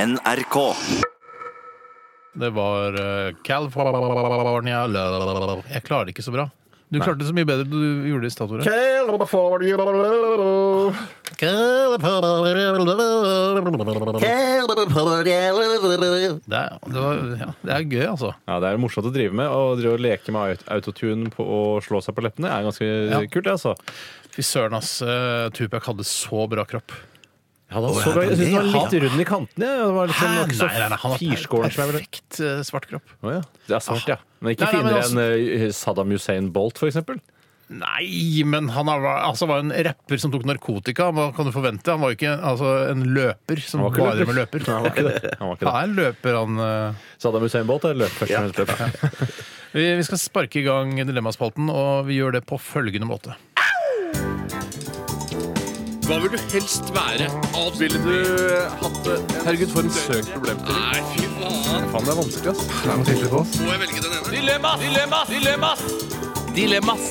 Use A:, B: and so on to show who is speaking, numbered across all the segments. A: NRK.
B: Det var eh, California Jeg klarer det ikke så bra. Du klarte det så mye bedre enn du gjorde det i statuet. Det, er- det, var- ja, det er gøy, altså.
C: Ja, Det er morsomt å drive med. Å drive og leke med aut- autotune på, og slå seg på leppene er ganske kult. det, altså.
B: Fy søren, ass. eh, Tupac hadde så bra kropp.
C: Han var, så, bra- jeg synes han var litt rund i kantene. Ja. Det var litt sånn,
B: Hæ?
C: ikke så
B: Nei, nei, nei, han har
C: firskåren som jeg ville
B: Perfekt eh, svart kropp.
C: Å ja. Det er svart, ja. Men ikke
B: Nei, nei, men altså-
C: finere enn eh, Saddam Hussein Bolt, for eksempel.
B: Nei, men han har- altså, var jo en rapper som tok narkotika. Hva kan du forvente? Han var jo ikke altså, en løper som
C: Han var ikke
B: bare drev med løper.
C: Nei, han var ikke det. Han var ikke
B: Han
C: det.
B: er en løper, han. eh.
C: Saddam Hussein Bolt er løp først. og fremst løp.
B: Vi, vi skal sparke i gang Dilemmaspalten, og vi gjør det på følgende måte.
D: Hva vil du helst være? Ville du
B: eh,
D: hatt det? Herregud, for en søk problemstilling. Nei, fy faen.
C: Faen, det er vanskelig, ass.
D: Må jeg velge den ene? Dilemmas! Dilemmas! Dilemmas! Dilemmas!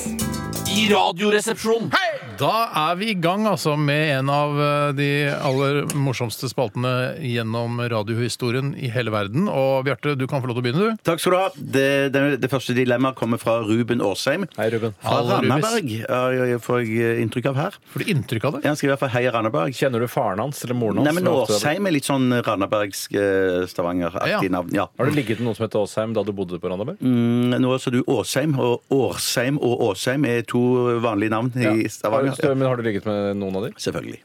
D: I radioresepsjonen.
B: Da er vi i gang altså med en av eh, de aller morsomste spaltene gjennom radiohistorien i hele verden. Og Bjarte, du kan få lov til å begynne, du.
E: Takk skal du ha. Det, det, det første dilemmaet kommer fra Ruben Årsheim.
C: Hei, Ruben.
E: Fra
B: Hallo, Rubis.
E: Randaberg, ja, ja, ja, får jeg eh, inntrykk av her.
B: Får du inntrykk av det?
E: Han skriver i hvert fall 'Hei, Randaberg'.
C: Kjenner du faren hans eller moren hans?
E: Nei, men
C: som er opptatt av-
E: Årsheim er litt sånn Randabergsk-Stavanger-aktig
B: Ja.
E: navn. Ja.
C: Har du ligget med noen som heter Åsheim da du bodde på Randaberg?
E: Mm, Nå sa du Åsheim, og Årsheim og Åsheim er to vanlige navn i
C: Har
E: Stavanger.
C: du- Men har du ligget med noen av de?
E: Selvfølgelig.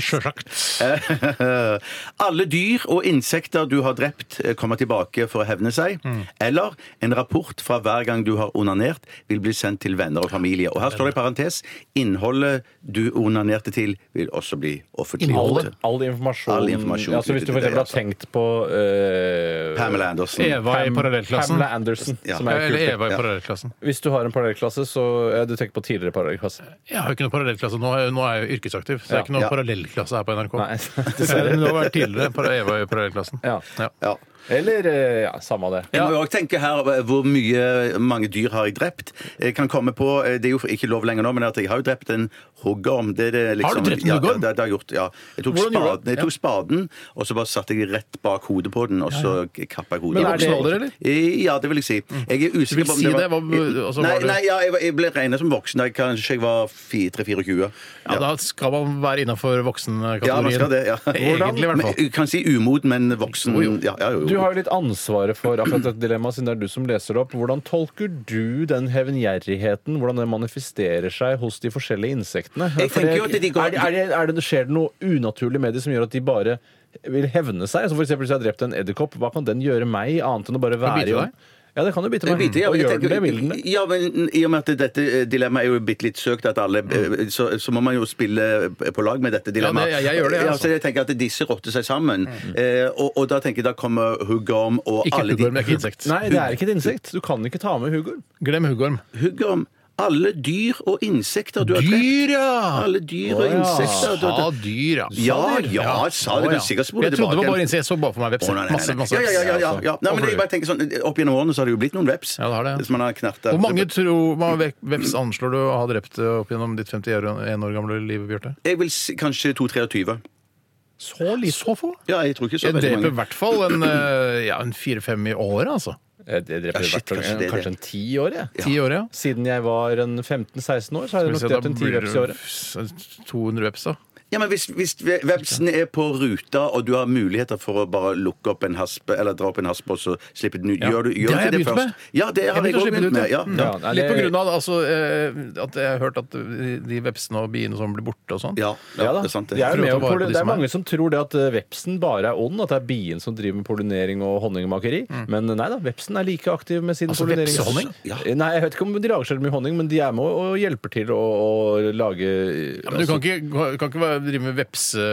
B: Sjølsagt.
E: Alle dyr og insekter du har drept, eh, kommer tilbake for å hevne seg. Eller en rapport fra hver gang du har onanert, vil bli sendt til venner og familie. Og her står det i parentes innholdet du onanerte til, vil også bli offentliggjort.
B: Innholdet?
C: All informasjon,
E: All informasjon
C: altså, Hvis du
E: knyttet
C: for
E: til det,
C: eksempel har
E: altså.
C: tenkt på eh,
E: Pamela Andersen.
B: Eva i
C: Pam-
B: parallellklassen.
C: Pamela Andersen.
E: Ja.
C: Som er
B: Eller
C: kult.
B: Eva i
E: Ja.
B: parallellklassen.
C: Hvis du har en parallellklasse, så ja, Du tenker på tidligere parallellklasse.
B: Jeg har jo ikke noen parallellklasse. Nå er jeg, nå er jeg jo yrkesaktiv, så det er ikke noen
E: Ja.
B: parallellklasse her på NRK.
C: Nei.
B: Men det har vært tidligere par- Eva i parallellklassen.
C: Ja.
E: Ja.
C: Eller eh, ja, samme det.
E: Jeg må jo også tenke her eh, hvor mye, mange dyr har jeg drept. Jeg kan komme på, eh, Det er jo ikke lov lenger nå, men at jeg har jo drept en huggorm. Det er det liksom,
B: drept en
E: ja,
B: huggorm?
E: Ja, det, det har jeg gjort, ja. Jeg tok,
B: Hvordan gjorde du det?
E: spaden, jeg tok spaden, og så bare satte jeg den rett bak hodet på den, og så kappa jeg hodet.
B: Men
C: er det-
B: voksen alder, eller? Mm.
E: Eh, Ja, det vil jeg si. Jeg er usikker
B: Du vil
E: på om
B: si
E: det
B: det?
E: var...
B: Hva- altså,
E: nei,
B: var det-
E: nei ja, jeg, var- jeg ble regna som voksen da jeg kanskje jeg var 3-24.
B: Ja, da skal man være innafor voksenkategorien.
E: Ja, man skal det. ja.
B: Egentlig, i hvert fall.
E: Men, jeg kan si umoden, men voksen ja, ja, jo, jo.
C: Du har jo litt ansvaret for akkurat dette dilemmaet, siden det er du som leser det opp. Hvordan tolker du den hevngjerrigheten, hvordan den manifesterer seg hos de forskjellige insektene?
E: Jeg
C: For
E: tenker jo at de går-
C: er, det- er, det- er det, Skjer det noe unaturlig med de som gjør at de bare vil hevne seg? Altså for eksempel hvis jeg har drept en edderkopp, hva kan den gjøre meg, annet enn å bare
B: Kan
C: være
B: bite deg?
C: Ja, det kan jo bite meg.
E: Biter, ja,
C: og
E: jeg
C: gjør den
E: tenker-
C: det, vil den det?
E: Ja, men I og med at dette eh, dilemmaet er jo bitte litt søkt, at alle, eh, så, så må man jo spille eh, på lag med dette dilemmaet.
B: Mm. Ja, det- jeg- jeg gjør det, jeg,
E: Ja,
B: altså. Mm.
E: så jeg tenker at disse rotter seg sammen. Eh, og, og da tenker jeg da kommer huggorm og
B: Ikke
E: alle
B: huggorm, det er ikke insekt.
C: Nei, det er ikke et insekt. Du kan ikke ta med huggorm.
B: Glem huggorm.
E: Huggorm, alle dyr og insekter du har drept.
B: Dyr, ja!
E: Alle dyr og
C: Å, ja.
E: insekter du har
B: Sa
E: drept.
B: dyr, ja.
E: Ja, ja, sa det.
B: Å,
E: Du
B: ja.
E: sikkert spoler
B: Jeg trodde det var
E: tilbake.
B: bare insekt. Jeg så bare for meg veps.
E: Å, nei, nei, nei.
B: Masse, masse
E: ja, ja,
B: veps.
E: ja, ja, ja. Nei,
B: Og
E: men jeg
B: fluer.
E: bare tenker sånn, Opp gjennom årene så har det jo blitt noen veps.
B: Ja, det har det, ja.
E: Hvis man har knerta
B: Hvor mange tror, hva ve- veps anslår du å ha drept eh, opp gjennom ditt 51 år gamle liv, Bjarte?
E: Jeg vil si kanskje 2-23.
B: Så lite? Så få?
E: Ja, jeg tror ikke
B: Jeg
E: så veldig
B: dreper
E: mange.
B: i hvert fall en, eh, ja, en fire-fem i året, altså.
C: Jeg jeg dreper
E: Ja, shit,
C: hvert år.
E: kanskje det er det.
C: kanskje en ti i året. jeg.
B: Ti år, ja.
C: Siden jeg var en 15-16 år, så har
B: Skal
C: jeg nok
B: vi se, da
C: drept en ti
B: blir
C: veps i året.
B: det 200 veps, da.
E: Ja, men hvis, hvis ve- vepsen er på ruta, og du har muligheter for å bare lukke opp en hasp, eller dra opp en hasp og så slippe den ut,
B: Ja.
E: gjør du
B: Det
E: gjør
B: har
E: du
B: jeg
E: det
B: begynt med.
E: først? Ja, det har jeg
B: begynte å
E: også
B: slippe
E: begynt
B: den ut,
E: med. Ja.
B: Mm.
E: Ja.
C: Ja, nei,
B: Litt på
C: det-
B: grunn av altså, eh, at jeg har hørt at de- de vepsene og biene som blir borte og sånn.
E: Ja,
C: Ja
E: ja,
C: da.
E: det er sant.
C: Det er, jo
B: Prøv å
C: med
B: ta
C: om
B: vare på
C: pollin-
B: de
C: det er
B: som er.
C: mange som tror det at eh, vepsen bare er ond, at det er bien som driver med pollinering og honningmakeri. Men eh, nei da, vepsen er like aktiv med sin
B: Altså,
C: pollinering.
B: vepsehonning?
C: Mm. Ja. Nei, jeg vet ikke om de lager så mye honning, men de er med og, og hjelper til å, å lage eh, altså,
B: Ja, men du kan ikke, kan ikke være- drive med vepse,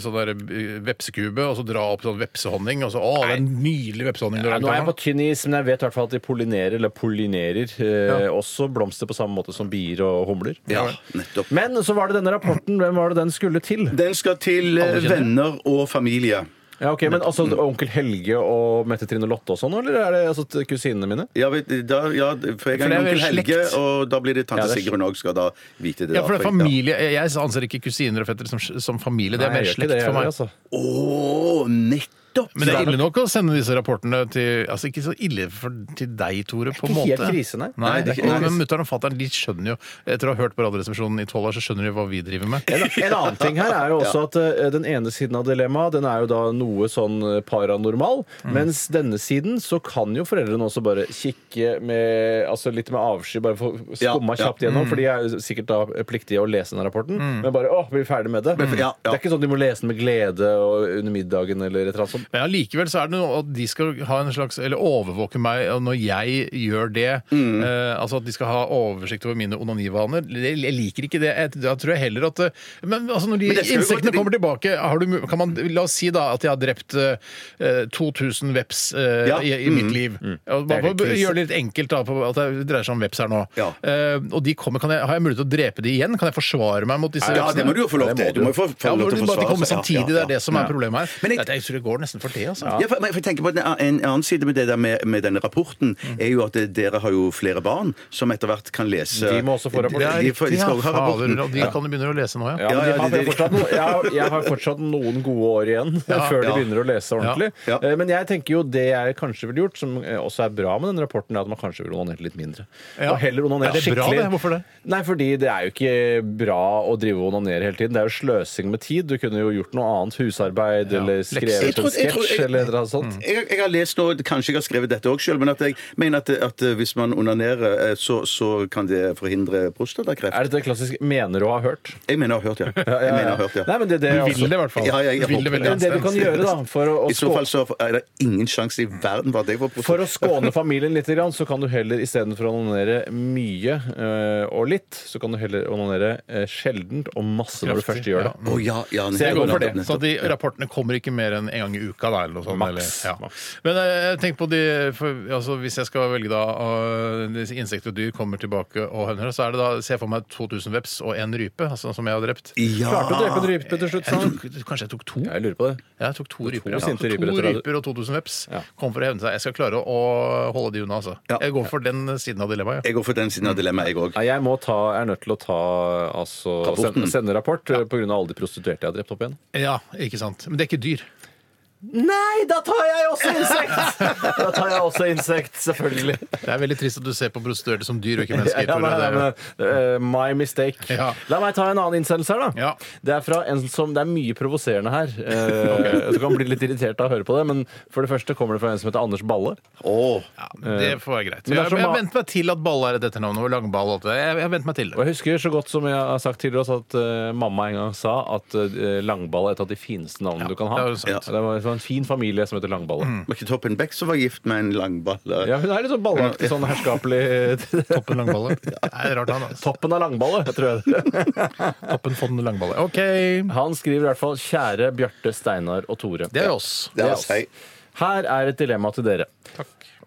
B: sånn der, eh, vepsekube og så dra opp sånn vepsehonning. Og så, å, det er en nydelig vepsehonning du
C: ja,
B: har
C: nå er jeg på
B: lagd.
C: tynn is, men jeg vet i hvert fall at de pollinerer, eller pollinerer eh,
B: Ja.
C: også blomster på samme måte som bier og humler.
E: Ja, nettopp.
C: Men så var det denne rapporten. Hvem var det den skulle til?
E: Den skal til eh,
B: Alle kjenner.
E: venner og familie.
C: Ja, ok, Men altså onkel Helge og Mette Trine Lotte og sånn, eller er det altså, t- kusinene mine?
E: Ja, vet- da, ja, for jeg
B: For det
E: er
B: er vel
E: onkel Helge,
B: slekt.
E: og da blir det tante
C: Ja, det er
E: Sigrun òg skal da vite det.
B: Ja,
E: da,
B: for det er
E: jeg-
B: familie. Jeg anser ikke kusiner og fettere som, som familie. Det er
C: Nei,
B: mer
C: jeg gjør ikke
B: slekt
C: det,
B: for meg.
C: jeg, altså.
E: Å, nettopp!
B: Men det er ille nok å sende disse rapportene til Altså ikke så ille for, til deg, Tore, på en
C: ikke
B: måte.
C: helt krise, nei.
B: nei
E: Nei, det er ikke-
B: og- men mutter'n og fatter'n de skjønner jo, etter å ha hørt på Radioresepsjonen i tolv år, så skjønner de hva vi driver med.
C: En, en annen ting her er jo også at eh, den ene siden av dilemmaet den er jo da noe sånn eh, paranormal, mens denne siden så kan jo foreldrene også bare kikke med, altså litt med avsky, bare få
E: Ja,
C: skumma
E: ja.
C: kjapt gjennom, for de er jo sikkert da pliktige å lese denne rapporten, men bare åh, blir ferdig med det.
E: ja, ja.
C: Det er ikke sånn de må lese den med glede og under middagen eller et eller annet sånt.
B: Men allikevel så er det noe at de skal ha en slags Eller overvåke meg og når jeg gjør det.
E: Mm.
B: Eh, altså at de skal ha oversikt over mine onanivaner. Jeg jeg liker ikke det. Jeg, da tror jeg heller at eh, Men altså når de
E: Men det skal jo gå
B: insektene
E: til-
B: kommer tilbake har du, mu- kan man, La oss si da at jeg har drept eh, 2000 veps eh,
E: Ja. Mm.
B: i, i mitt liv. Og
C: Det er
B: Bare
C: helt
B: for å
C: krise.
B: gjøre det litt enkelt, da, på at det dreier seg om veps her nå.
E: Ja.
B: Eh, og de kommer, kan jeg, Har jeg mulighet til å drepe de igjen? Kan jeg forsvare meg mot disse
E: Ja, det må du jo få lov
C: Det må
E: til. Du
C: du.
E: må jo få, få
B: Ja,
E: lov
B: for bare at
E: til å
B: de
E: forsvare
B: kommer
E: seg. Ja,
B: samtidig.
E: ja,
B: Det er det som er problemet her.
E: Men jeg-
B: jeg, tror det går nesten for det, altså.
E: Ja, for, men jeg tenker på En, en annen side med det der med, med denne rapporten
C: Mm.
E: er jo at dere har jo flere barn som etter hvert kan lese
C: De må også få rapporten.
E: De, de, får- de skal også ha rapporten.
B: Fader, og de kan jo begynne å lese nå, ja.
C: Ja, men
E: Ja,
C: de
E: ja,
C: har
E: de- de-
C: fortsatt noe, jeg, har, jeg har fortsatt noen gode år igjen før de
E: ja.
C: begynner å lese ordentlig.
E: Ja, ja.
C: Eh, Men jeg tenker jo det jeg kanskje ville gjort, som eh, også er bra med den rapporten, er at man kanskje vil onanere litt mindre.
B: Ja.
C: Og heller
B: Er
C: onanere
B: det bra,
C: skikkelig.
B: det? Hvorfor det?
C: Nei, fordi det er jo ikke bra å drive og onanere hele tiden. Det er jo sløsing med tid. Du kunne jo gjort noe annet. Husarbeid eller
B: Lekser.
E: Jeg
C: skrevet
E: tror-
C: en
E: jeg tror-
C: sketsj
E: jeg-
C: eller et eller annet sånt.
E: Jeg, jeg har lest nå, Kanskje jeg har skrevet dette òg sjøl, men at jeg mener at, at hvis man onanerer, eh, så, så kan det forhindre prostatakreft.
C: Er dette klassisk 'mener å ha hørt'? Eh,
E: Jeg mener jeg har hørt, ja. Jeg mener jeg har hørt, ja.
C: Nei, men det, det, er
B: Du
C: også-
B: vil det, i hvert fall.
E: Ja, jeg- jeg
B: Du vil det
E: håper
B: veldig
C: Men det du kan
B: anstendig.
C: gjøre da, for å, å
E: I så fall så er det ingen sjanse i verden for at jeg får prostatakreft.
C: For å skåne familien litt, grann, så kan du heller istedenfor å onanere mye eh, og litt, så kan du heller onanere eh, sjeldent og masse når du
B: Kraftig,
C: først gjør det.
E: Å, ja, ja,
C: Så jeg går for det.
E: nettopp,
B: Så
E: nettopp.
B: de rapportene kommer ikke mer enn en gang i uka? Da, eller noe sånt,
C: Maks,
B: eller,
C: maks.
B: Men eh, tenk på de for, altså, Hvis jeg skal velge da eh, disse Insekter og dyr kommer tilbake og høner, så er det da, ser jeg for meg 2000 veps og en rype, altså, som jeg har drept.
E: Ja.
C: Klarte å drepe en rype til slutt, sånn.
B: Jeg
C: sa han.
B: tok, kanskje jeg tok to?
C: Jeg lurer på det.
B: Ja, Jeg tok to ryper. ja.
C: sinte
B: Så
C: ryper
B: to
C: etter deg.
B: ryper og 2000 veps.
C: Ja.
B: Kom for å hevne seg. Jeg skal klare å å holde de unna, altså.
E: Ja.
B: Jeg går for den siden av dilemmaet. Ja.
E: Jeg går for den siden av dilemmaet, jeg òg.
C: Nei, jeg må ta, er nødt til å ta altså,
E: Rapporten.
C: sende, sende rapport eh, på grunn av alle de prostituerte jeg har drept opp igjen.
B: ja, ikke sant. Men det er ikke dyr.
C: Nei, da tar jeg også insekt! da tar jeg også insekt, selvfølgelig.
B: Det er veldig trist at du ser på prostituerte som dyr og ikke
C: Ja,
B: mennesker.
C: ja,
B: Tore.
C: nei,
B: Det er-
C: nei, men, eh, my mistake.
B: Ja.
C: La meg ta en annen innsendelse her, da.
B: Ja.
C: Det er fra en som Det er mye provoserende her. Eh, Du kan bli litt irritert av å høre på det, men for det første kommer det fra en som heter Anders Balle.
B: Ja, det får være greit.
C: Men det
B: Jeg,
C: er så
B: jeg
C: ma-
B: venter meg til at Balle er et etternavn og Langball og alt det. Jeg, jeg venter meg til det.
C: Og jeg husker så godt som jeg har sagt tidligere også, at eh, mamma en gang sa at eh, Langballe er et av de fineste navnene du kan ha.
B: det er jo sant. Mm.
C: Ja, det var det var en fin familie som heter Langballe.
E: Var ikke Toppen Beck som var gift med en langballe?
C: Ja, hun er litt sånn balleaktig, sånn herskapelig eh,
B: Toppen Langballe. Det er rart han, altså.
C: Toppen av Langballe, jeg tror jeg det.
B: Toppen von Langballe. OK.
C: Han skriver i hvert fall 'Kjære Bjarte, Steinar og Tore'.
B: Det er oss.
E: Det er altså
C: Ja.
E: å si.
C: Her er et dilemma til dere.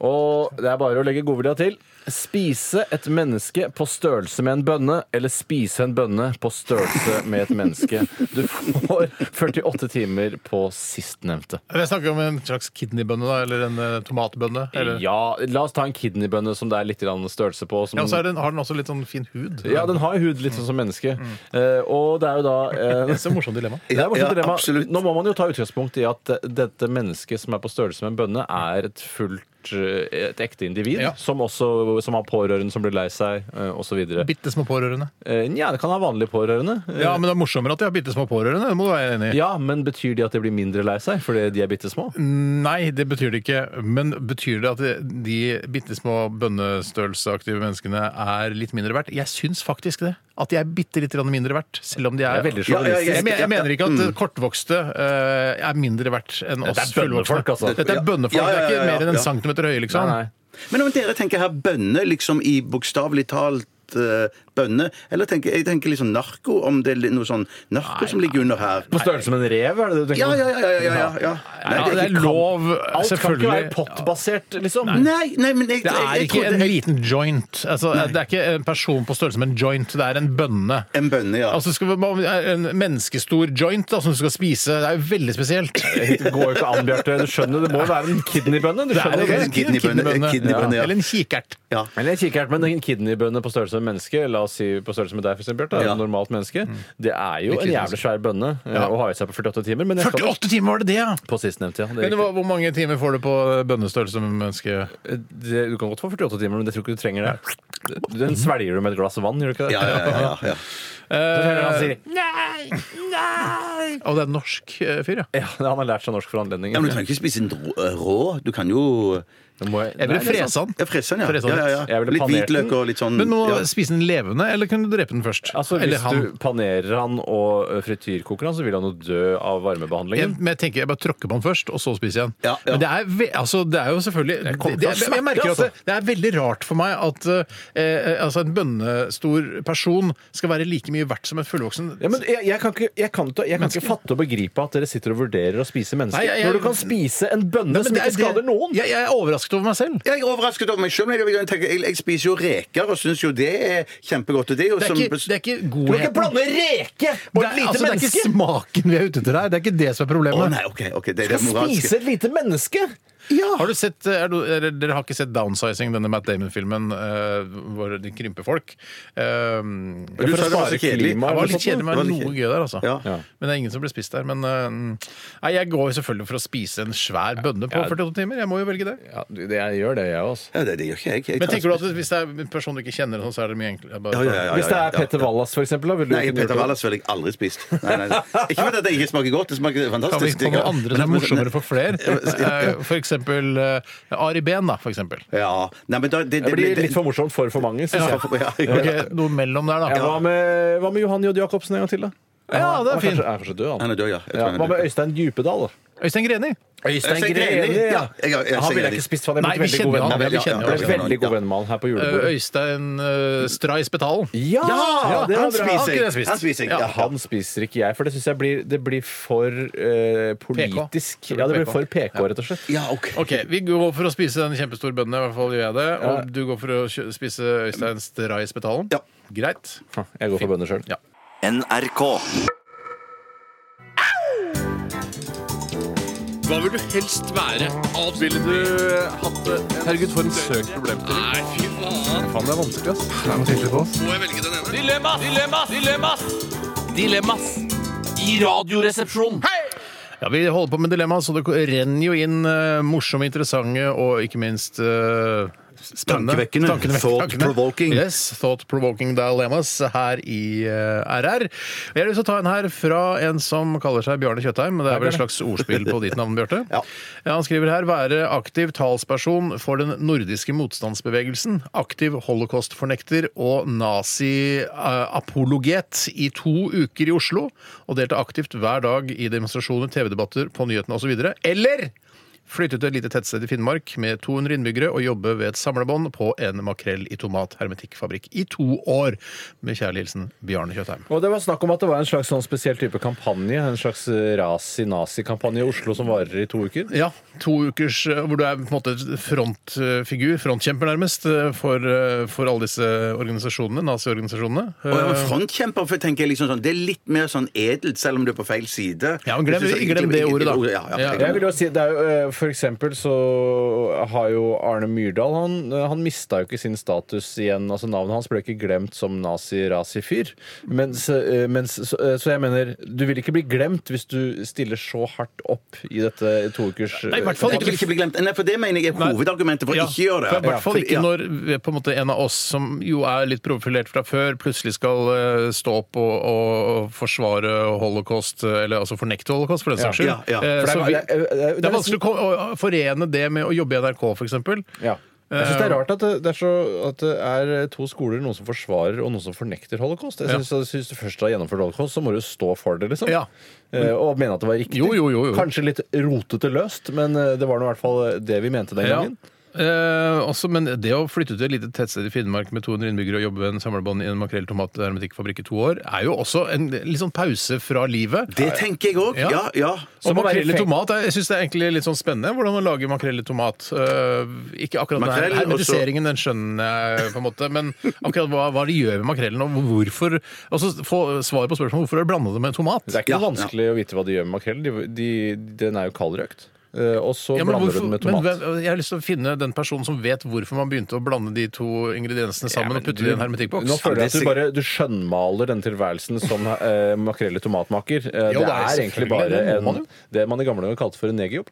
C: Og det er bare å legge godvilja til. Spise et menneske på størrelse med en bønne, eller spise en bønne på størrelse med et menneske. Du får 48 timer på sistnevnte.
B: Jeg snakker om en slags kidneybønne, da, eller en eh, tomatbønne. Eller... Ja,
C: Ja, la oss ta en kidneybønne som det er litt grann størrelse på. Som
B: og så er den, har den også litt sånn fin hud.
C: ja, den har hud litt sånn som menneske.
B: Mm.
C: Eh, og det er jo da eh,
B: Det er et morsomt dilemma.
C: Det er et morsomt
E: Ja,
C: dilemma.
E: absolutt.
C: Nå må man jo ta utgangspunkt i at eh, dette mennesket som er på størrelse med en bønne, er et fullt eh, et ekte individ,
B: Ja.
C: som også som har pårørende som blir lei seg, eh, osv.
B: Bitte små pårørende.
C: Eh, Nja, det kan ha vanlige pårørende. Eh,
B: Ja, men det er morsommere at de har bitte små pårørende. Det må du være enig i.
C: ja, men betyr de at de blir mindre lei seg fordi de er bitte små?
B: Nei, det betyr det ikke. Men betyr det at det- de bitte små bønnestørrelseaktive menneskene er litt mindre verdt? Jeg syns faktisk det. At de er bitte litt grann mindre verdt. Selv om de er,
C: Det er veldig
E: Ja, Mm. ja,
C: sjåvinistisk.
B: Jeg, men, jeg mener ikke at kortvokste eh, er mindre verdt enn oss
C: Dette er bønnefolk,
B: fullvoksne.
C: altså.
B: Dette er bønnefolk,
E: Ja, ja, ja,
B: Det er
E: ja,
B: ikke mer enn en
E: ja.
B: centimeter høye, liksom.
C: Nei, nei.
E: Men om dere tenker her bønne liksom i bokstavelig talt spesielt eh, bønne. Eller tenker, jeg tenker liksom narko, om det er noe sånn narko som ligger under her.
C: På størrelse med en rev, er det det du tenker
E: Ja,
C: på?
E: ja, ja. ja, ja, ja, ja. Nei,
B: Ja, det er
E: ikke kam-
B: lov,
C: Alt kan ikke være
B: selvfølgelig.
C: pottbasert, liksom.
E: Nei, nei, men jeg,
B: Det
E: jeg,
B: er
E: jeg
B: ikke en
E: trodde
B: liten joint. Altså, det er ikke en person på størrelse med en joint, det er en bønne.
E: En bønne, ja.
B: Altså, skal vi, en menneskestor joint da, som du skal spise, det er jo veldig spesielt.
C: Det går jo ikke an, Bjarte. Du skjønner, det må jo være en kidneybønne. Du
B: Det er
C: skjønner
B: jo
C: det.
E: en kidneybønne,
B: kidneybønne.
E: kidneybønne, ja.
B: Eller en kikkert.
E: ja.
C: Eller en kikkert, men en kidneybønne på størrelse med menneske, la oss si på størrelse med deg, for eksempel, Bjarte, er jo
E: Ja.
C: et normalt menneske. Det er jo
B: Litt
C: en
B: liten.
C: jævlig svær bønne, eh, og har i seg på 48 timer. Men jeg skal
B: 48 timer var det det, ja!
C: på sistnevnte, ja. Det er
B: Men
C: riktig.
B: hva, hvor mange timer får du på eh, bønnestørrelse med menneske?
C: Eh, det, du kan godt få 48 timer, men jeg tror ikke du trenger det. Den svelger du med et glass vann, gjør du ikke det?
E: Ja, ja, ja, ja, ja.
C: Eh,
B: Og det er en norsk eh, fyr, ja.
C: Ja, Han har lært seg norsk for anledningen.
E: ja, men du trenger ikke spise den rå- rå. Du kan jo
C: Det må
B: Jeg
C: jeg- Nei,
B: ville
C: det er sant.
B: frese han.
E: Ja, frese den, ja.
B: Frese
E: ja,
B: den
E: ja,
B: litt.
E: ja.
C: Jeg ville
E: Litt
C: panert den.
E: hvitløk og litt sånn
B: Men må
E: ja.
B: du spise den levende, eller kunne du drepe den først?
C: Altså,
B: eller
C: hvis du panerer han og eh, frityrkoker han, så vil han jo dø av
B: Jeg,
C: varmebehandlingen.
B: men jeg tenker jeg bare tråkker på den først, og så spiser jeg den.
E: Ja, ja.
B: Men det er, ve altså, det er jo selvfølgelig det, det,
C: kommer til å
B: jeg- Jeg
C: smerte,
B: merker at det,
C: altså.
B: det er veldig rart for meg at eh, eh, altså en bønnestor person skal være like mye verdt som en fullvoksen
C: Ja, men jeg, jeg kan, ikke, jeg, kan, ikke- jeg kan ikke fatte og begripe at dere sitter og vurderer å spise mennesker.
B: Nei, jeg- jeg-
C: når du kan spise en bønne
B: Nei, men
C: som
B: det er-
C: ikke skader
B: det-
C: noen!
B: Jeg, jeg er overrasket over meg selv.
E: Ja, Jeg er overrasket over meg sjøl. Jeg, jeg, tenker- jeg, jeg spiser jo reker og syns jo det er kjempegodt. Og det er jo
B: Det er
E: som
B: ikke, det er ikke
C: Du kan ikke
B: godheten.
C: blande reke og
B: Det
C: et
B: er,
C: lite
B: altså, det er
C: menneske!
B: ikke smaken vi er ute etter her. Det er ikke det som er
E: Å
B: problemet.
E: nei, OK. ok, Det
C: Du
E: er det
C: skal spise
E: moralske.
C: et lite menneske!
B: Har du sett, er du, eller, Dere har ikke sett 'Downsizing', denne Matt Damon-filmen eh, hvor de krymper folk. Um,
E: Du sa det var så kjedelig.
B: det
C: klimaet
B: var
C: eller
B: litt
C: sånt.
B: kjedelig, men det
E: Det
B: var
E: var
B: noe
E: litt
B: gøy der, altså.
E: Ja.
C: Ja.
B: Men det er ingen som blir spist der. Men eh, nei, jeg går jo selvfølgelig for å spise en svær bønne på
C: Ja.
B: 48 timer. Jeg må jo velge det.
C: Ja, du, det, jeg gjør det, jeg også.
E: Ja, det, det gjør ikke jeg. jeg
B: Men
E: tar-
B: tenker du at hvis det er en person du ikke kjenner, sånn, så er det mye enklere? Bare-
E: Ja, ja, ja, ja,
C: Hvis det
E: ja,
C: er
E: ja,
C: Petter
E: ja.
C: Wallace, for eksempel, da ville du
E: Nei,
C: kunne gjort det.
E: Petter Wallas ville jeg aldri spist. Nei, nei, nei. Ikke fordi det ikke smaker godt, det smaker
B: Kan vi
E: fantastisk.
B: komme
E: digg.
B: andre som er
E: Men-
B: morsommere for flere? Eh, For eksempel eh, Ari Behn, da. For eksempel.
E: Ja. Nei, men da, det, det,
C: Det blir
E: det-
C: litt for morsomt for for mange. Synes jeg.
E: Ja, ja.
B: Ok, noe mellom der, da.
C: Ja, hva, med, hva med Johan J. Jacobsen en gang til, da?
B: Ja, det er
C: Han
B: fint.
C: Kanskje, er kanskje død, han.
E: Han er død, ja. Jeg tror
C: Ja,
E: han er
C: hva
E: død.
C: med Øystein Djupedal? da?
B: Øystein Greni.
C: Øystein
E: Øystein Greni,
C: Greni, ja.
E: ja. Jeg- jeg- jeg
C: Han
E: ser
C: ville
E: det.
C: jeg ikke spist, for han
B: Nei,
C: er
B: vi
C: blitt veldig god
B: kjenner
C: venn
B: han.
C: med
B: Ja, vi
E: Ja,
B: kjenner
E: ja,
C: han.
B: han.
E: ja.
C: Ble veldig god venn med han her på
B: Eh,
C: julebordet.
B: Øystein uh, Stray Spetalen.
C: Ja! det var bra.
E: han
B: Han
E: spiser
B: kunne jeg
E: jeg.
B: spist.
E: Han spiser jeg.
B: Ja,
E: Ja,
C: Han spiser ikke jeg, for det syns jeg blir, det blir for eh, politisk.
B: PK.
C: Ja, det blir
B: PK.
C: for PK, rett og slett.
E: ja, ok.
B: Ok, Vi går for å spise en kjempestor bønne, i hvert fall gjør jeg det. Og du går for å kjø- spise Øystein Stray Spetalen?
E: Ja.
B: Greit.
C: Jeg går for bønner sjøl.
B: Ja.
D: NRK. Hva vil du helst være? Ville du hatt det? Herregud, for en søk problemstilling. Nei, fy faen.
C: Faen, det er vanskelig, ass.
D: Må jeg velge den ene? Dilemmas! Dilemmas! Dilemmas! Dilemmas i Radioresepsjonen.
B: Ja, Vi holder på med dilemma, så det renner jo inn eh, morsomme, interessante og ikke minst eh, spennende-
E: Tankevekkende.
B: tankevekkende-
E: Thought-provoking.
B: Yes, thought-provoking dilemmas her i eh, RR. Jeg har lyst til å ta en her fra en som kaller seg Bjarne Kjøtheim. men Det er vel et slags ordspill på ditt navn, Bjarte?
E: Ja.
B: Ja, han skriver her 'være aktiv talsperson for den nordiske motstandsbevegelsen', 'aktiv holocaust-fornekter' og 'nazi-apologet' i to uker i Oslo, og delta aktivt hver dag i demonstrasjoner, TV-debatter, på nyhetene osv. Eller flytte til et lite tettsted i Finnmark med 200 innbyggere og jobbe ved et samlebånd på en makrell i tomat-hermetikkfabrikk i to år. Med kjærlig hilsen Bjarne Kjøtheim.
C: Og det var snakk om at det var en slags sånn spesiell type kampanje, en slags razi-nazi-kampanje i Oslo som varer i to uker.
B: Ja, to ukers eh, hvor du er på en måte frontfigur, frontkjemper nærmest, eh, for, eh, for alle disse organisasjonene, naziorganisasjonene.
E: Og jeg var frontkjemper, for jeg tenker liksom sånn, det er litt mer sånn edelt, selv om du er på feil side.
B: Ja, men glem-
E: Jeg synes
B: glem
E: egentlig-
B: det ordet, da.
E: Ja, ja,
B: Ja.
E: jeg
C: Jeg
E: glemmer
C: vil jo si, det er jo, eh, For eksempel så har jo Arne Myrdal Han, eh, han mista jo ikke sin status igjen. altså Navnet hans ble ikke glemt som nazi-razi-fyr. Mens, eh, mens, så, eh, så jeg mener, du vil ikke bli glemt hvis du stiller så hardt opp i dette eh, toukers
B: Nei, i hvert fall
E: det. Jeg vil ikke bli glemt. Nei, for det mener jeg er hovedargumentet for å
B: Ja,
E: ikke gjøre det.
B: for I hvert fall
E: Ja,
B: ikke
E: for-
B: når eh, på en, måte, en av oss som jo er litt profilert fra før, plutselig skal eh, stå opp og, og forsvare holocaust, eh, eller altså fornekte holocaust, for den saks skyld.
E: Ja, ja.
B: Eh,
C: For det er-
B: så vi-
C: det er- det er- det er
B: Det er vanskelig å ko- å forene det med å jobbe i NRK, f.eks.
C: Ja. Jeg synes Det
B: Eh,
C: er rart at det, det, er så, at det er to skoler, noen som forsvarer og noen som fornekter holocaust. Jeg synes, jeg synes du først har gjennomført holocaust, så må du stå for det, liksom.
B: Ja.
C: Eh, Og mene at det var riktig.
B: Jo, jo, jo, jo.
C: Kanskje litt rotete løst, men eh, det var nå i hvert fall det vi mente den
B: Ja.
C: gangen.
B: Eh, også, men det å flytte til et lite tettsted i Finnmark med 200 innbyggere og jobbe ved en samlebånd i en makrell, tomat og hermetikkfabrikk i to år, er jo også en litt sånn pause fra livet.
E: Det tenker jeg òg.
B: Ja.
E: Ja, ja.
B: Og
C: Som å være
B: makrell i
C: feng-
B: tomat er, jeg synes det er egentlig litt sånn spennende hvordan man lager makrell i tomat. Eh, ikke akkurat
E: Makrell,
B: den her hermetiseringen, den skjønner jeg på en måte, men akkurat hva, hva de gjør med makrellen, og hvorfor Altså få svar på spørsmålet hvorfor har de blanda det med tomat?
C: Det er ikke
E: Ja,
C: noe vanskelig å vite hva de gjør med makrell. De, de, den er jo kaldrøkt. Eh, Og så
B: Ja, men
C: blander
B: hvorfor-
C: du den med
B: men
C: tomat.
B: hvem- jeg har lyst til å finne den personen som vet hvorfor man begynte å blande de to ingrediensene sammen
C: Ja, men
B: og putte
C: du-
B: det i en hermetikkboks.
C: Nå føler jeg at
E: Ja,
C: du
E: det er
C: bare du skjønnmaler den tilværelsen som eh, makrell i tomatmaker. Eh,
B: Jo,
C: det
B: det er
C: er egentlig
B: selvfølgelig,
C: bare
B: det må man
C: en,
B: jo.
C: det man i gamle dager kalte for en negerjobb.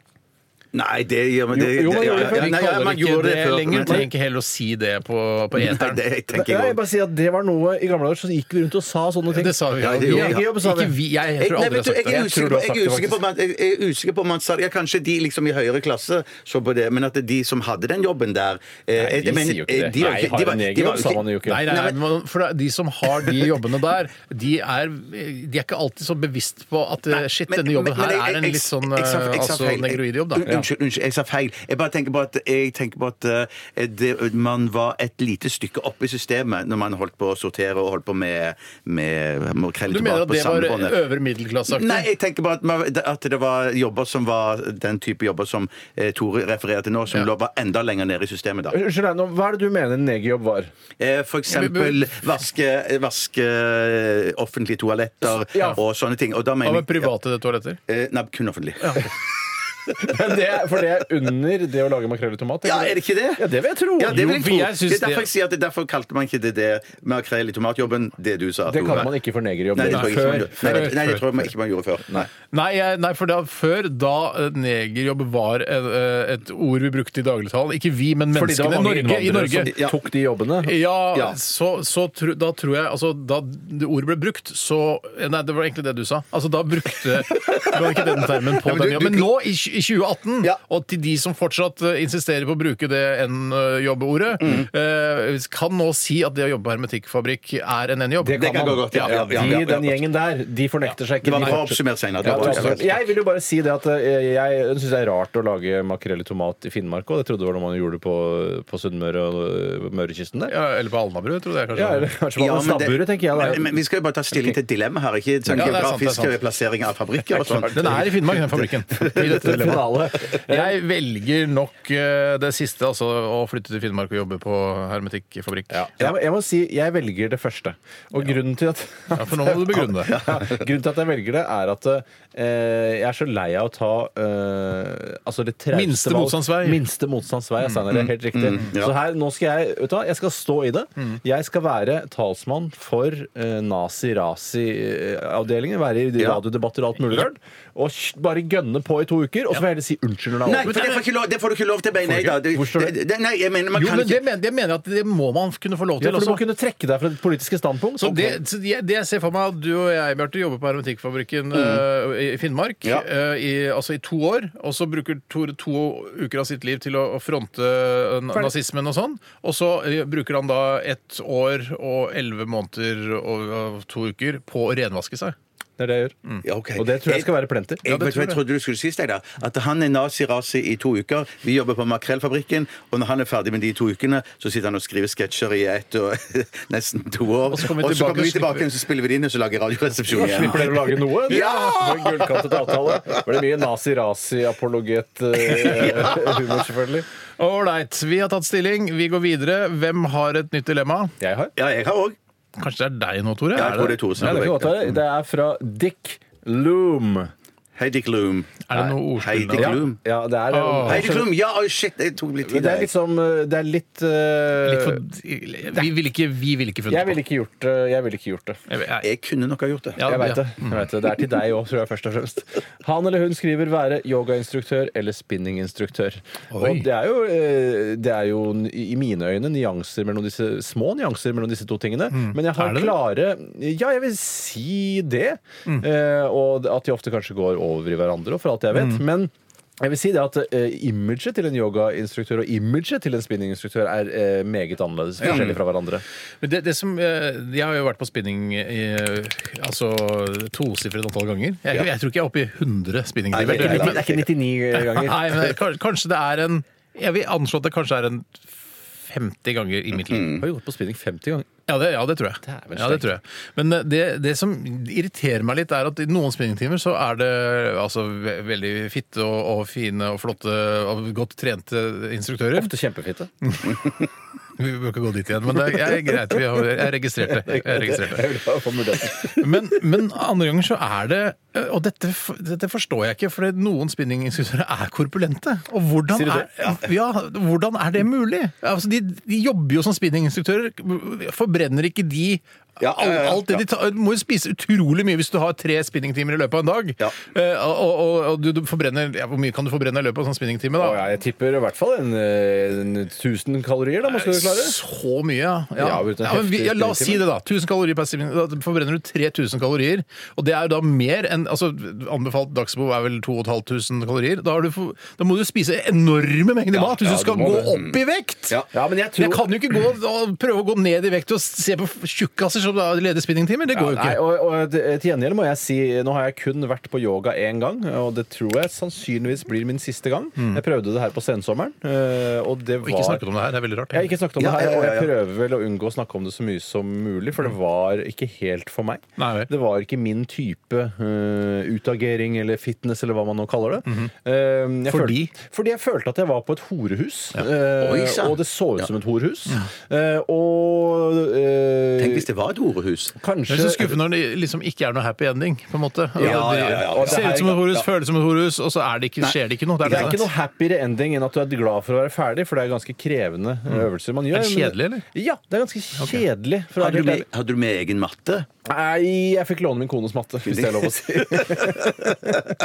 E: Nei, det gjør man det-
C: Jo, jo, man
E: det- ja,
C: gjorde det
E: ja,
C: før.
E: ja,
B: Vi
E: nei, ja,
B: kaller
E: man
B: det ikke
E: gjorde
B: det,
E: før,
B: lenger.
E: men-
B: Trenger ikke heller å si det på, på
E: Nei,
B: eteren.
E: det tenker jeg òg.
C: sier at det var noe I gamle dager så gikk vi rundt og sa sånne
B: Det sa vi
E: Ja, det
B: jo.
E: gjorde vi.
B: Ikke vi. Jeg tror aldri jeg
E: Jeg, nei,
B: har
E: vet du,
B: sagt
E: jeg er
B: det.
E: usikker på, jeg er usikker på, om at- jeg er usikker på om han sa det. Ja, kanskje de liksom i høyere klasse så på det, men at det er de som hadde den jobben der eh,
C: Nei, de
E: men,
C: sier jo
E: eh,
C: ikke det.
E: de var
C: Nei,
E: ikke- de
C: har
E: var-
C: en
E: de var
C: negerjobb, sa
E: ikke-
C: man jo ikke.
B: Nei, nei, nei, men for de som har de jobbene der, de er, de er ikke alltid så bevisst på at eh, shit,
E: Ah, Men-
B: denne jobben
E: men-
B: her
E: men jeg-
B: er en
E: jeg-
B: litt sånn
E: jeg- jeg sa-
B: eh,
E: jeg sa
B: altså,
E: feil.
B: negroidjobb, da.
E: Un- Unnskyld, unnskyld, jeg sa feil. Jeg bare tenker på at, jeg tenker på at eh, det, man var et lite stykke oppe i systemet når man holdt på å sortere og holdt på med, med makrell
B: Du mener
E: tilbake
B: at
E: på
B: det var
E: samlebåndet.
B: øvre middelklasseaktig?
E: Nei, jeg tenker bare at, man, at det var jobber som var den type jobber som eh, Tore refererer til nå, som
B: Ja.
E: lå bare enda lenger nede i systemet da.
C: Unnskyld meg, nå, hva er det du mener en negerjobb var?
E: Eh, For eksempel vaske, vaske eh, offentlige toaletter
C: Ja.
E: og sånne ting. Og da
B: Hva
E: mener
B: med private toaletter?
E: Eh, Nei, kun offentlig. Ja.
C: Men det, er- for det er under det å lage makrell i tomat?
E: er det ikke det?
C: Ja, det vil jeg tro.
E: Ja, det vil
B: Jo,
E: jeg
B: for
E: tro.
B: jeg synes
E: det er
B: det-
E: derfor jeg sier at det er derfor kalte man ikke det det makrell i tomatjobben, det du sa.
C: Det
E: Tore.
C: kaller man ikke for negerjobb.
E: Nei, det tror jeg ikke man
B: Før.
E: gjorde. Nei, det, nei, det tror jeg man ikke man gjorde før. Nei.
B: Nei, jeg, nei for da, før, da eh, negerjobb var et, et ord vi brukte i dagligtalen Ikke vi, men
C: Fordi det var
B: menneskene.
C: mange
B: Norge, I
C: innvandrere
B: Norge.
E: Ja.
C: som tok de jobbene.
B: Ja,
E: Ja.
B: så, så tro, da tror jeg altså, Da det ordet ble brukt, så Nei, det var egentlig det du sa. Altså, da brukte Det var ikke den termen på
E: Ja, men du-
B: den jobben.
E: du-
B: Men nå, i, tj- i 2018,
E: Ja.
B: og til de som fortsatt eh, insisterer på å bruke det N-jobbeordet, eh, kan nå si at det å jobbe på hermetikkfabrikk er en N-jobb.
E: Det kan gå godt. Ja, ja, ja, ja,
C: de,
E: ja.
C: den gjengen der, de fornekter seg
E: Det
C: ikke.
E: var
C: De
E: bra
C: fortsetter.
E: oppsummert senere.
C: Ja,
E: Det var-
C: det var- jeg vil jo bare si det at eh, jeg syns det er rart å lage makrell i tomat i Finnmark òg. Det trodde jeg var noe man gjorde på, på Sunnmøre og eh, Mørekysten der.
B: Ja, eller på Alnabru, tror jeg kanskje.
C: Ja, eller kanskje
E: Ja,
C: var det
E: men det-
C: stabburet, tenker jeg.
E: Men,
C: da.
E: men vi skal jo bare ta stilling til et dilemma her, ikke sånn
B: Ja, det er sant, det er
E: geografisk
B: sant.
E: plassering av fabrikker og sånn. sånt.
B: Den er i Finnmark, den fabrikken. I dette dilemmaet.
C: Finale.
B: Jeg velger nok eh, det siste, altså å flytte til Finnmark og jobbe på hermetikkfabrikk. Ja.
C: Jeg, må- jeg må si jeg velger det første. Og grunnen til at
B: for nå må du begrunne det.
C: Grunnen til at jeg velger det, er at eh, jeg er så lei av å ta eh, altså det trauste
B: Minste
C: valg.
B: motstands vei.
C: Minste motstands vei, Steinar.
E: Mm,
C: Det er helt riktig. Så her, nå skal jeg vet du hva, jeg skal stå i det.
E: Mm.
C: Jeg skal være talsmann for nazi-rasi-avdelingen. Være i de
E: Ja.
C: radiodebatter og alt mulig rart. Og sh- bare gønne på i to uker, og så får jeg heller si unnskyld når det
E: Nei,
C: er
E: for
C: over.
E: det får, ikke lov, det får du ikke lov til, mener jeg, da. Det,
C: Hvor står det?
E: det, det, nei, jeg mener, man
B: Jo,
E: kan
B: men det
E: ikke
B: mener, det mener jeg at det må man kunne få lov
C: Ja,
B: til
C: for du må
B: også.
C: kunne trekke deg fra det politiske standpunkt.
B: Så det, så jeg- det jeg ser for meg at du og jeg, Bjarte, jobber på Hermetikkfabrikken
C: Mm.
B: eh, i Finnmark
E: Ja.
B: eh, i, altså i to år, og så bruker Tore to uker av sitt liv til å, å fronte eh, na- nazismen og sånn, og så eh, bruker han da ett år og elleve måneder og, og to uker på å renvaske seg.
C: Det er det jeg gjør.
E: Ja, ok.
C: Og det tror jeg skal være plenter.
E: Jeg,
B: det
E: vet du hva jeg
B: tror
E: trodde du skulle si, Steinar? At han er nazi-rasi i to uker. Vi jobber på Makrellfabrikken, og når han er ferdig med de to ukene, så sitter han og skriver sketsjer i ett og nesten to år. Og så kommer vi tilbake,
B: og
E: og
B: slipper-
E: så spiller vi det inn, og så lager Radioresepsjonen
C: Ja. Slipper dere å lage noe?
E: Ja!
C: Det var en gullkantet avtale. Var det mye nazi-rasi-apologet-humor, selvfølgelig?
B: Ålreit, vi har tatt stilling. Vi går videre. Hvem har et nytt dilemma?
C: Jeg har.
E: Ja, jeg har òg.
B: Kanskje det er deg nå, Tore?
E: Jeg
B: Er
E: tror det
B: det,
E: er Tore som
C: Nei,
E: er
C: det, kan
E: på
C: godt
E: vei.
C: være. det er fra Dick Loom.
E: Hei, Dick Loom.
B: er det noe ordspill
E: Heidi
B: der?
C: Ja,
E: Loom.
C: ja, det er
B: Åh.
E: Hei, Dick Loom! Ja, oi, shit, det tok litt tid.
C: Det er
E: jeg.
C: litt som eh, Det er litt, eh,
B: Litt for- Vi ville ikke, vi vil ikke funnet
C: Jeg ville ikke gjort det. Jeg ville ikke gjort det.
B: på det.
E: Jeg kunne nok ha gjort det.
B: Ja,
C: Jeg vet
B: ja.
C: det. Jeg vet det. Det er til deg òg, tror jeg først og fremst. Han eller hun skriver 'være yogainstruktør eller spinninginstruktør'.
B: Oi.
C: Og det er, jo, eh, det er jo n- i mine øyne nyanser mellom disse, små nyanser mellom disse to tingene. Men jeg
B: Er
C: har
B: det det?
C: klare Ja, jeg vil si det. Eh, og at de ofte kanskje går over i hverandre, og for alt jeg vet. Men jeg vil si det at eh, Imaget til en yogainstruktør og imaget til en spinninginstruktør er eh, meget annerledes. Forskjellig fra hverandre.
B: Men det, det som, eh, jeg har jo vært på spinning eh, altså tosifret antall ganger. Jeg, jeg tror ikke jeg er oppe i 100
E: Nei, det er
B: spinningtimer.
E: ikke
B: Nei,
E: det.
B: men,
C: Det er ikke 99 ganger.
B: nei, men kans- kanskje det er en Jeg vil anslå at det kanskje er en 50 ganger i mitt liv.
C: Har jo gått på spinning 50 ganger.
B: Ja, det, ja, det tror jeg.
C: Det er vel
B: ja, det
C: sterkt.
B: tror jeg. Men eh, det, det som irriterer meg litt, er at i noen spinningtimer så er det altså, ve veldig fitte og, og fine og flotte og godt trente instruktører.
C: Ofte kjempefitte.
B: Vi bør ikke gå dit igjen, men det er er greit. Vi har, jeg registrerte det. Jeg registrerte det.
C: Jeg vil ha få muligheten.
B: Men, men andre ganger så er det eh, Og dette, f- dette forstår jeg ikke, for noen spinninginstruktører er korpulente. Og hvordan
C: Sier du
B: er,
C: det?
B: ja, hvordan er det mulig? Altså, de, de jobber jo som spinninginstruktører. Forbrenner ikke de
E: Ja,
B: all-
E: ja, ja, ja.
B: alt det de tar, Du må jo spise utrolig mye hvis du har tre spinningtimer i løpet av en dag.
E: Ja.
B: Eh, og og, og du, du forbrenner ja, Hvor mye kan du forbrenne i løpet av en sånn spinningtime? da?
C: Å, ja, jeg tipper i hvert fall en, eh, en 1000 kalorier, da, må skal du klare.
B: Så mye, ja. ja.
C: Ja, uten
B: men vi,
C: heftig
B: ja la oss si
C: springtime.
B: det, da. 1000 kalorier per stilling. Da forbrenner du 3000 kalorier. Og det er jo da mer enn altså, Anbefalt dagsbehov er vel 2500 kalorier. Da, har du, for- da må du spise enorme mengder mat hvis
C: ja,
B: du skal
C: du må
B: gå
C: det.
B: opp i vekt!
E: Ja.
C: Ja, men jeg tror...
B: Jeg kan jo ikke gå og prøve å gå ned i vekt og se på tjukkaser som da leder spinningtimer. Det går jo
C: Nei,
B: ikke.
C: og, og til- til gjengjeld må jeg si Nå har jeg kun vært på yoga én gang, og det tror jeg sannsynligvis blir min siste gang. Jeg prøvde det her på sensommeren, eh, og det var
B: Og ikke snakket om det her. Det er veldig rart.
C: jeg har ikke snakket om
E: Ja,
C: det her,
E: ja, ja, ja.
C: og jeg prøver vel å unngå å snakke om det så mye som mulig, for det var ikke helt for meg.
B: Mm. Nei vel.
C: det var ikke min type eh, utagering eller fitness eller hva man nå kaller det. Eh, jeg
B: Mhm. Fordi?
C: Følte, fordi jeg følte at jeg var på et horehus,
E: Oi,
C: eh,
E: sann.
C: og det så ut som et horehus. Eh, og eh,
E: Tenk hvis det var et horehus.
B: Det
C: kanskje
B: er så skuffende når det liksom ikke er noe happy ending. på en måte.
E: Ja, ja, ja, ja.
B: Det ser ut som et horus,
C: Ja.
B: føles som et horus, og så er det ikke, skjer det ikke noe.
C: Det er
B: det.
C: ikke noe happier ending enn at du er glad for å være ferdig, for det er ganske krevende eh, øvelser man
B: Mm.
C: gjør.
B: Er det
C: men-
B: kjedelig, eller?
C: Ja, det er ganske kjedelig. For å være
E: Hadde du
C: helt
E: med,
C: ærlig.
E: hadde du med egen matte?
C: Nei, jeg fikk låne min kones matte, hvis det er lov å si.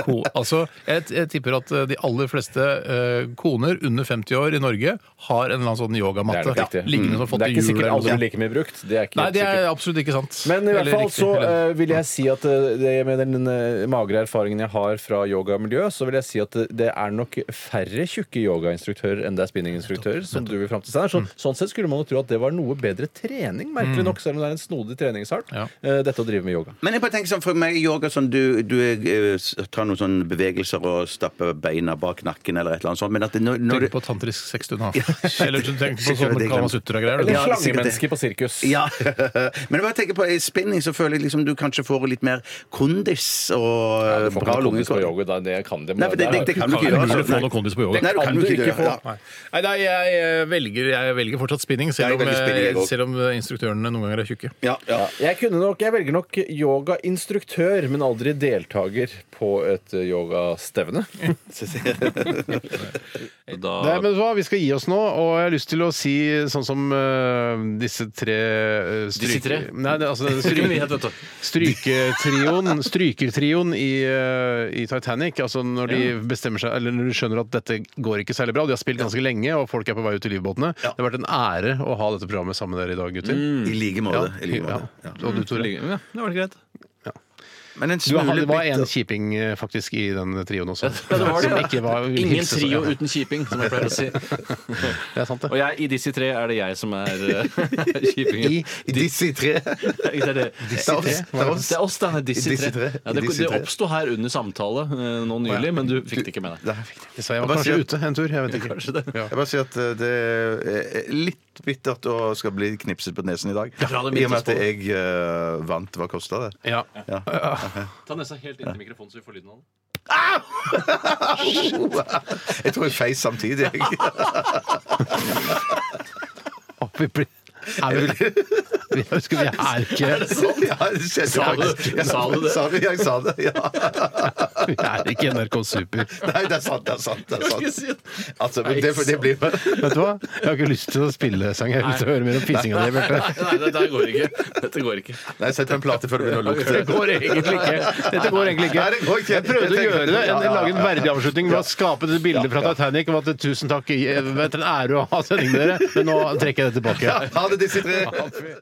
B: Ko- Altså, jeg, jeg tipper at eh, de aller fleste eh, koner under 50 år i Norge har en eller annen sånn
C: Det er
B: yogamatte
C: nok riktig. Mm.
B: liggende som har
C: Det
B: fått
C: er
B: i
C: ikke
B: jul.
C: sikkert
B: eller noe
C: alle
B: sånt.
C: blir like mye brukt. Det er ikke
B: Nei,
C: helt
B: det
C: sikkert.
B: er absolutt ikke sant.
C: Men i hvert
B: Eller
C: fall
B: riktig,
C: så
B: eller-
C: eh, vil jeg si at eh, det, med den eh, magre erfaringen jeg har fra yogamiljø, så vil jeg si at eh, det er nok færre tjukke yogainstruktører enn det er spinninginstruktører. som du vil frem til Steinar. Så,
B: Mm.
C: Sånn sett skulle man jo tro at det var noe bedre trening, merkelig nok, selv om det er en snodig treningsart,
B: Ja.
C: eh, dette å drive med yoga.
E: Men jeg bare tenker sånn, for meg i yoga sånn, du, du eh, s- tar noen sånne bevegelser og stapper beina bak nakken eller et eller annet sånt, men at det, når,
B: Tenk
E: når du
B: på tantrisk sexstund, da. Eller du tenker på sånn
E: Sikkert
B: sånne
E: det glemte.
B: kamasutra-greier. du.
C: Eller
E: Ja, det er sikkert det.
C: slangemenneske på sirkus.
E: ja, men jeg bare tenker på i spinning så føler jeg liksom du kanskje får litt mer kondis og
C: Du får
E: bra
C: ikke noe kondis på
E: lungekondis.
C: yoga, da. det kan det.
E: Nei, for det, det, det kan du
B: Det
E: ikke
B: er
E: gjøre.
B: umulig å få
E: altså.
B: noe kondis på yoga.
E: Nei, du
C: kan
E: kan jo
C: du
E: ikke
C: ikke
E: gjøre
C: få.
E: ja.
B: Nei, Nei, nei jeg, eh, velger, jeg velger fortsatt spinning, selv
E: Jeg
B: om,
E: velger spinning, jeg
B: eh,
E: også.
B: selv om eh, instruktørene noen ganger er tjukke.
E: Ja, ja.
C: Jeg, kunne nok, jeg velger nok yogainstruktør, men aldri deltaker på et eh, yogastevne.
D: Da,
A: Nei, men vet du hva, Vi skal gi oss nå, og jeg har lyst til å si sånn som eh, disse tre uh,
D: Disse tre?
A: Nei, det, altså, det,
D: Stryker vi
A: stryk,
D: het, vet du.
A: stryketrioen Strykertrioen i, eh, i Titanic. Altså når de bestemmer seg Eller når de skjønner at dette går ikke særlig bra. De har spilt ganske lenge, og folk er på vei ut i livbåtene. Det har vært en ære å ha dette programmet sammen med dere i dag, gutter.
D: Mm.
E: I like måte. I like
A: Ja.
E: måte. Ja.
A: Og du, Tore.
D: Ja, Mm. det var det greit.
E: Men en
A: Du, har-
E: smule
A: det var
E: bitter-
A: en kjiping eh, faktisk i den trioen også.
D: Ja, det var det,
A: som
D: ja.
A: ikke var, ville
D: Ingen
A: hilse så-
D: trio
A: ja,
D: uten kjiping, som jeg pleier å si.
A: Det er sant, det.
D: Og jeg, i disse tre er det jeg som er eh, kjipingen.
E: I disse tre.
D: Det er det.
E: Disse tre?
D: Det er oss, det er oss, det er disse
E: Disse
D: tre.
E: tre.
D: Ja, det
E: Disse
D: det
E: tre.
D: oppsto her under samtale eh, nå nylig, men du fikk det ikke med deg.
E: Nei, fikk det.
A: Så jeg
E: Jeg
A: var
E: bare
A: kanskje
E: sier-
A: ute en tur. Jeg vet ikke.
D: Kanskje det.
E: Jeg bare sier at eh, det er litt bittert å skal bli knipset på nesen i dag.
D: Ja, det er
E: I og med at
D: bittert.
E: jeg eh, vant. Hva kosta det?
A: Ja.
E: Ja.
D: Ta nesa helt inntil mikrofonen, så vi får lyden av den.
E: Jeg tror jeg feis samtidig. Jeg.
A: Å, Vi blir er vi, vi husker vi er ikke
E: Ja, det skjedde
D: Sa du-
E: faktisk. Ja,
D: sa du det?
E: Sa du, jeg sa det, ja.
A: Vi er ikke NRK Super.
E: Nei, det er sant, det er sant. Det, er
D: Skal jeg
E: sant.
D: si det?
E: Altså, men det, det blir
A: Vet du hva? Jeg har ikke lyst til å spille sang. Jeg har lyst til å høre mer om fisinga di, Bjarte.
D: Nei, nei, det der går ikke. Dette går ikke.
E: Nei, sett på en plate før du begynner å lukte.
A: Det går egentlig ikke. Dette går egentlig ikke.
E: Nei, det går ikke.
A: Jeg prøvde å
E: Jeg
A: gjøre
E: tenker-
A: det.
E: Ja, ja,
A: Jeg
E: ja,
A: lage en
E: ja, ja.
A: verdig avslutning ved å skape et bilde fra Titanic om at tusen takk, det er en ære å ha sending med dere, men nå trekker jeg det tilbake.
E: Ha det, disse tre.